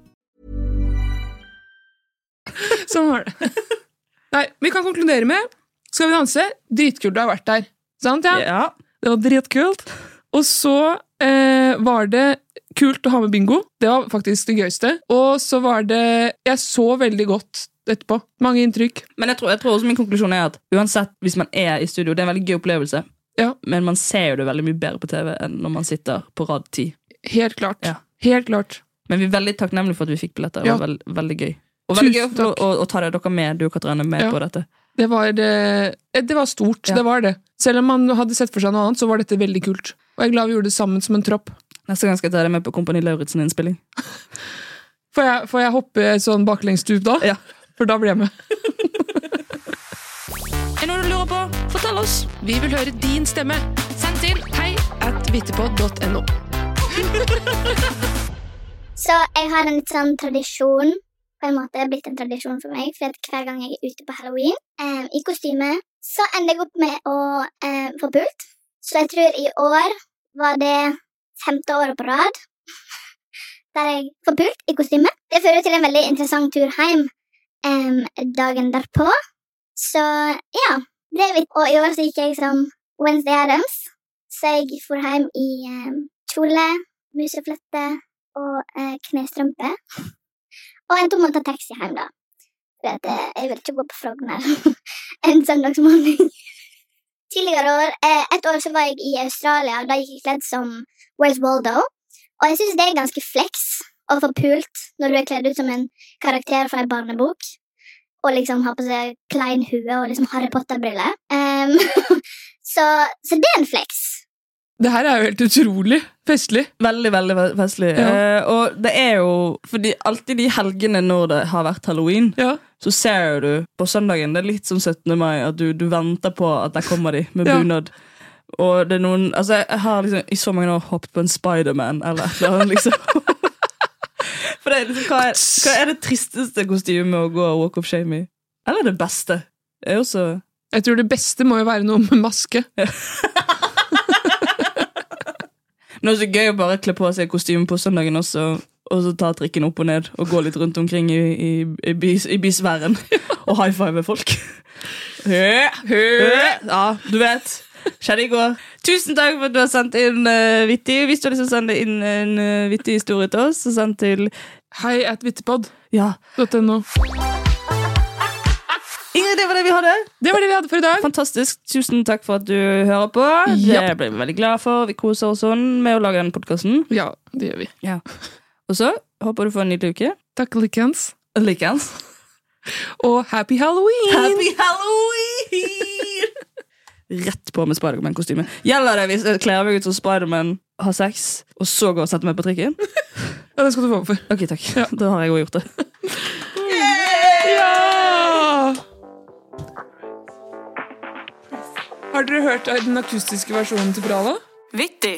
S3: Sånn var det. Nei, vi kan konkludere med Skal vi danse? Dritkult du har vært der. Sant, ja? Det var dritkult. Og så eh, var det kult å ha med bingo. Det var faktisk det gøyeste. Og så var det Jeg så veldig godt etterpå. Mange inntrykk.
S2: Men jeg tror, jeg tror også min konklusjon er at uansett, hvis man er i studio, det er en veldig gøy opplevelse, men man ser jo det veldig mye bedre på TV enn når man sitter på rad 10.
S3: Helt klart. Helt klart.
S2: Men vi er veldig takknemlige for at vi fikk billetter. Det
S3: Ja.
S2: var veld, veldig gøy. Og veldig gøy
S3: Tusen
S2: å, å, å ta det dere med, du og Katrine, med
S3: Ja.
S2: på dette.
S3: Det var, eh, det var stort. Det var det. Selv om man hadde sett for seg noe annet, så var dette veldig kult. Og jeg er glad vi gjorde det sammen som en tropp.
S2: Neste gang skal jeg ta det med på Kompani Lauritzen-innspilling.
S3: Får jeg, får jeg hoppe sånn baklengsstup da? For da [LAUGHS] blir jeg med.
S2: Er det noe du lurer på? Fortell oss!
S3: Vi vil høre din stemme. Send til hei at vittepod.no.
S15: Så jeg har en litt sånn tradisjon, på en måte blitt en tradisjon for meg, for at hver gang jeg er ute på halloween eh, i kostyme, så ender jeg opp med å eh, få pult. Så jeg tror i år var det femte året på rad der jeg får pult i kostyme. Det fører jo til en veldig interessant tur hjem em, dagen derpå. Så ja, det er vitt. Og i år så gikk jeg som Wednesday Adams, så jeg for hjem i em, kjole, museflette og eh, knestrømpe. Og endte opp med å ta taxi hjem, da. For at, eh, jeg vil ikke gå på Frogner en søndagsmorgen. Tidligere år, eh, et år så var jeg i Australia, og da gikk jeg kledd som Where's Waldo? Og jeg syns det er ganske flex å få pult når du er kledd ut som en karakter fra en barnebok. Og liksom har på seg klein hue og liksom Harry Potter-briller. Em, så, så det er en flex.
S3: Det her er jo helt utrolig festlig.
S2: Veldig, veldig ve- festlig. Eh, og det er jo fordi alltid de helgene når det har vært halloween, så ser jo du på søndagen Det er litt som 17. mai, at du, du venter på at der kommer de med
S3: Ja.
S2: bunad. Og det er noen Altså, jeg har liksom i så mange år hoppet på en Spiderman eller et eller annet, liksom. [LAUGHS] For det er liksom, hva, er, hva er det tristeste kostymet å gå walk of shame i? Eller det beste? Det er jo så
S3: Jeg tror det beste må jo være noe med maske.
S2: Men det er så gøy å bare kle på seg kostyme på søndagen også, og så ta trikken opp og ned og gå litt rundt omkring i, i, i, bys, i bysfæren [LAUGHS] og high five folk. Hø, hø. Ja, du vet. Skjedde i går. Tusen takk for at du har sendt inn eh, vittig. Hvis du har lyst til å sende inn en eh, vittig historie til oss, så send til
S3: hei at vittepod.
S2: Ja.
S3: .no.
S2: Ingrid det var det vi hadde.
S3: Det var det vi hadde for i dag.
S2: Fantastisk. Tusen takk for at du hører på. Det
S3: Ja.
S2: ble vi veldig glad for. Vi koser oss sånn med å lage denne podkasten.
S3: Ja, det gjør vi.
S2: Ja. Og så håper du får en nydelig uke.
S3: Takk, likens.
S2: Likens.
S3: Og happy halloween!
S2: Happy halloween! Rett på med Spiderman-kostyme. Gjelder det hvis jeg kler meg ut som Spiderman, har sex, og så går og setter meg på trikken?
S3: Ja, det skal du få for.
S2: Ok, takk. Da har jeg òg gjort det.
S3: Ja! Har dere hørt den akustiske versjonen til Brala?
S1: Vittig.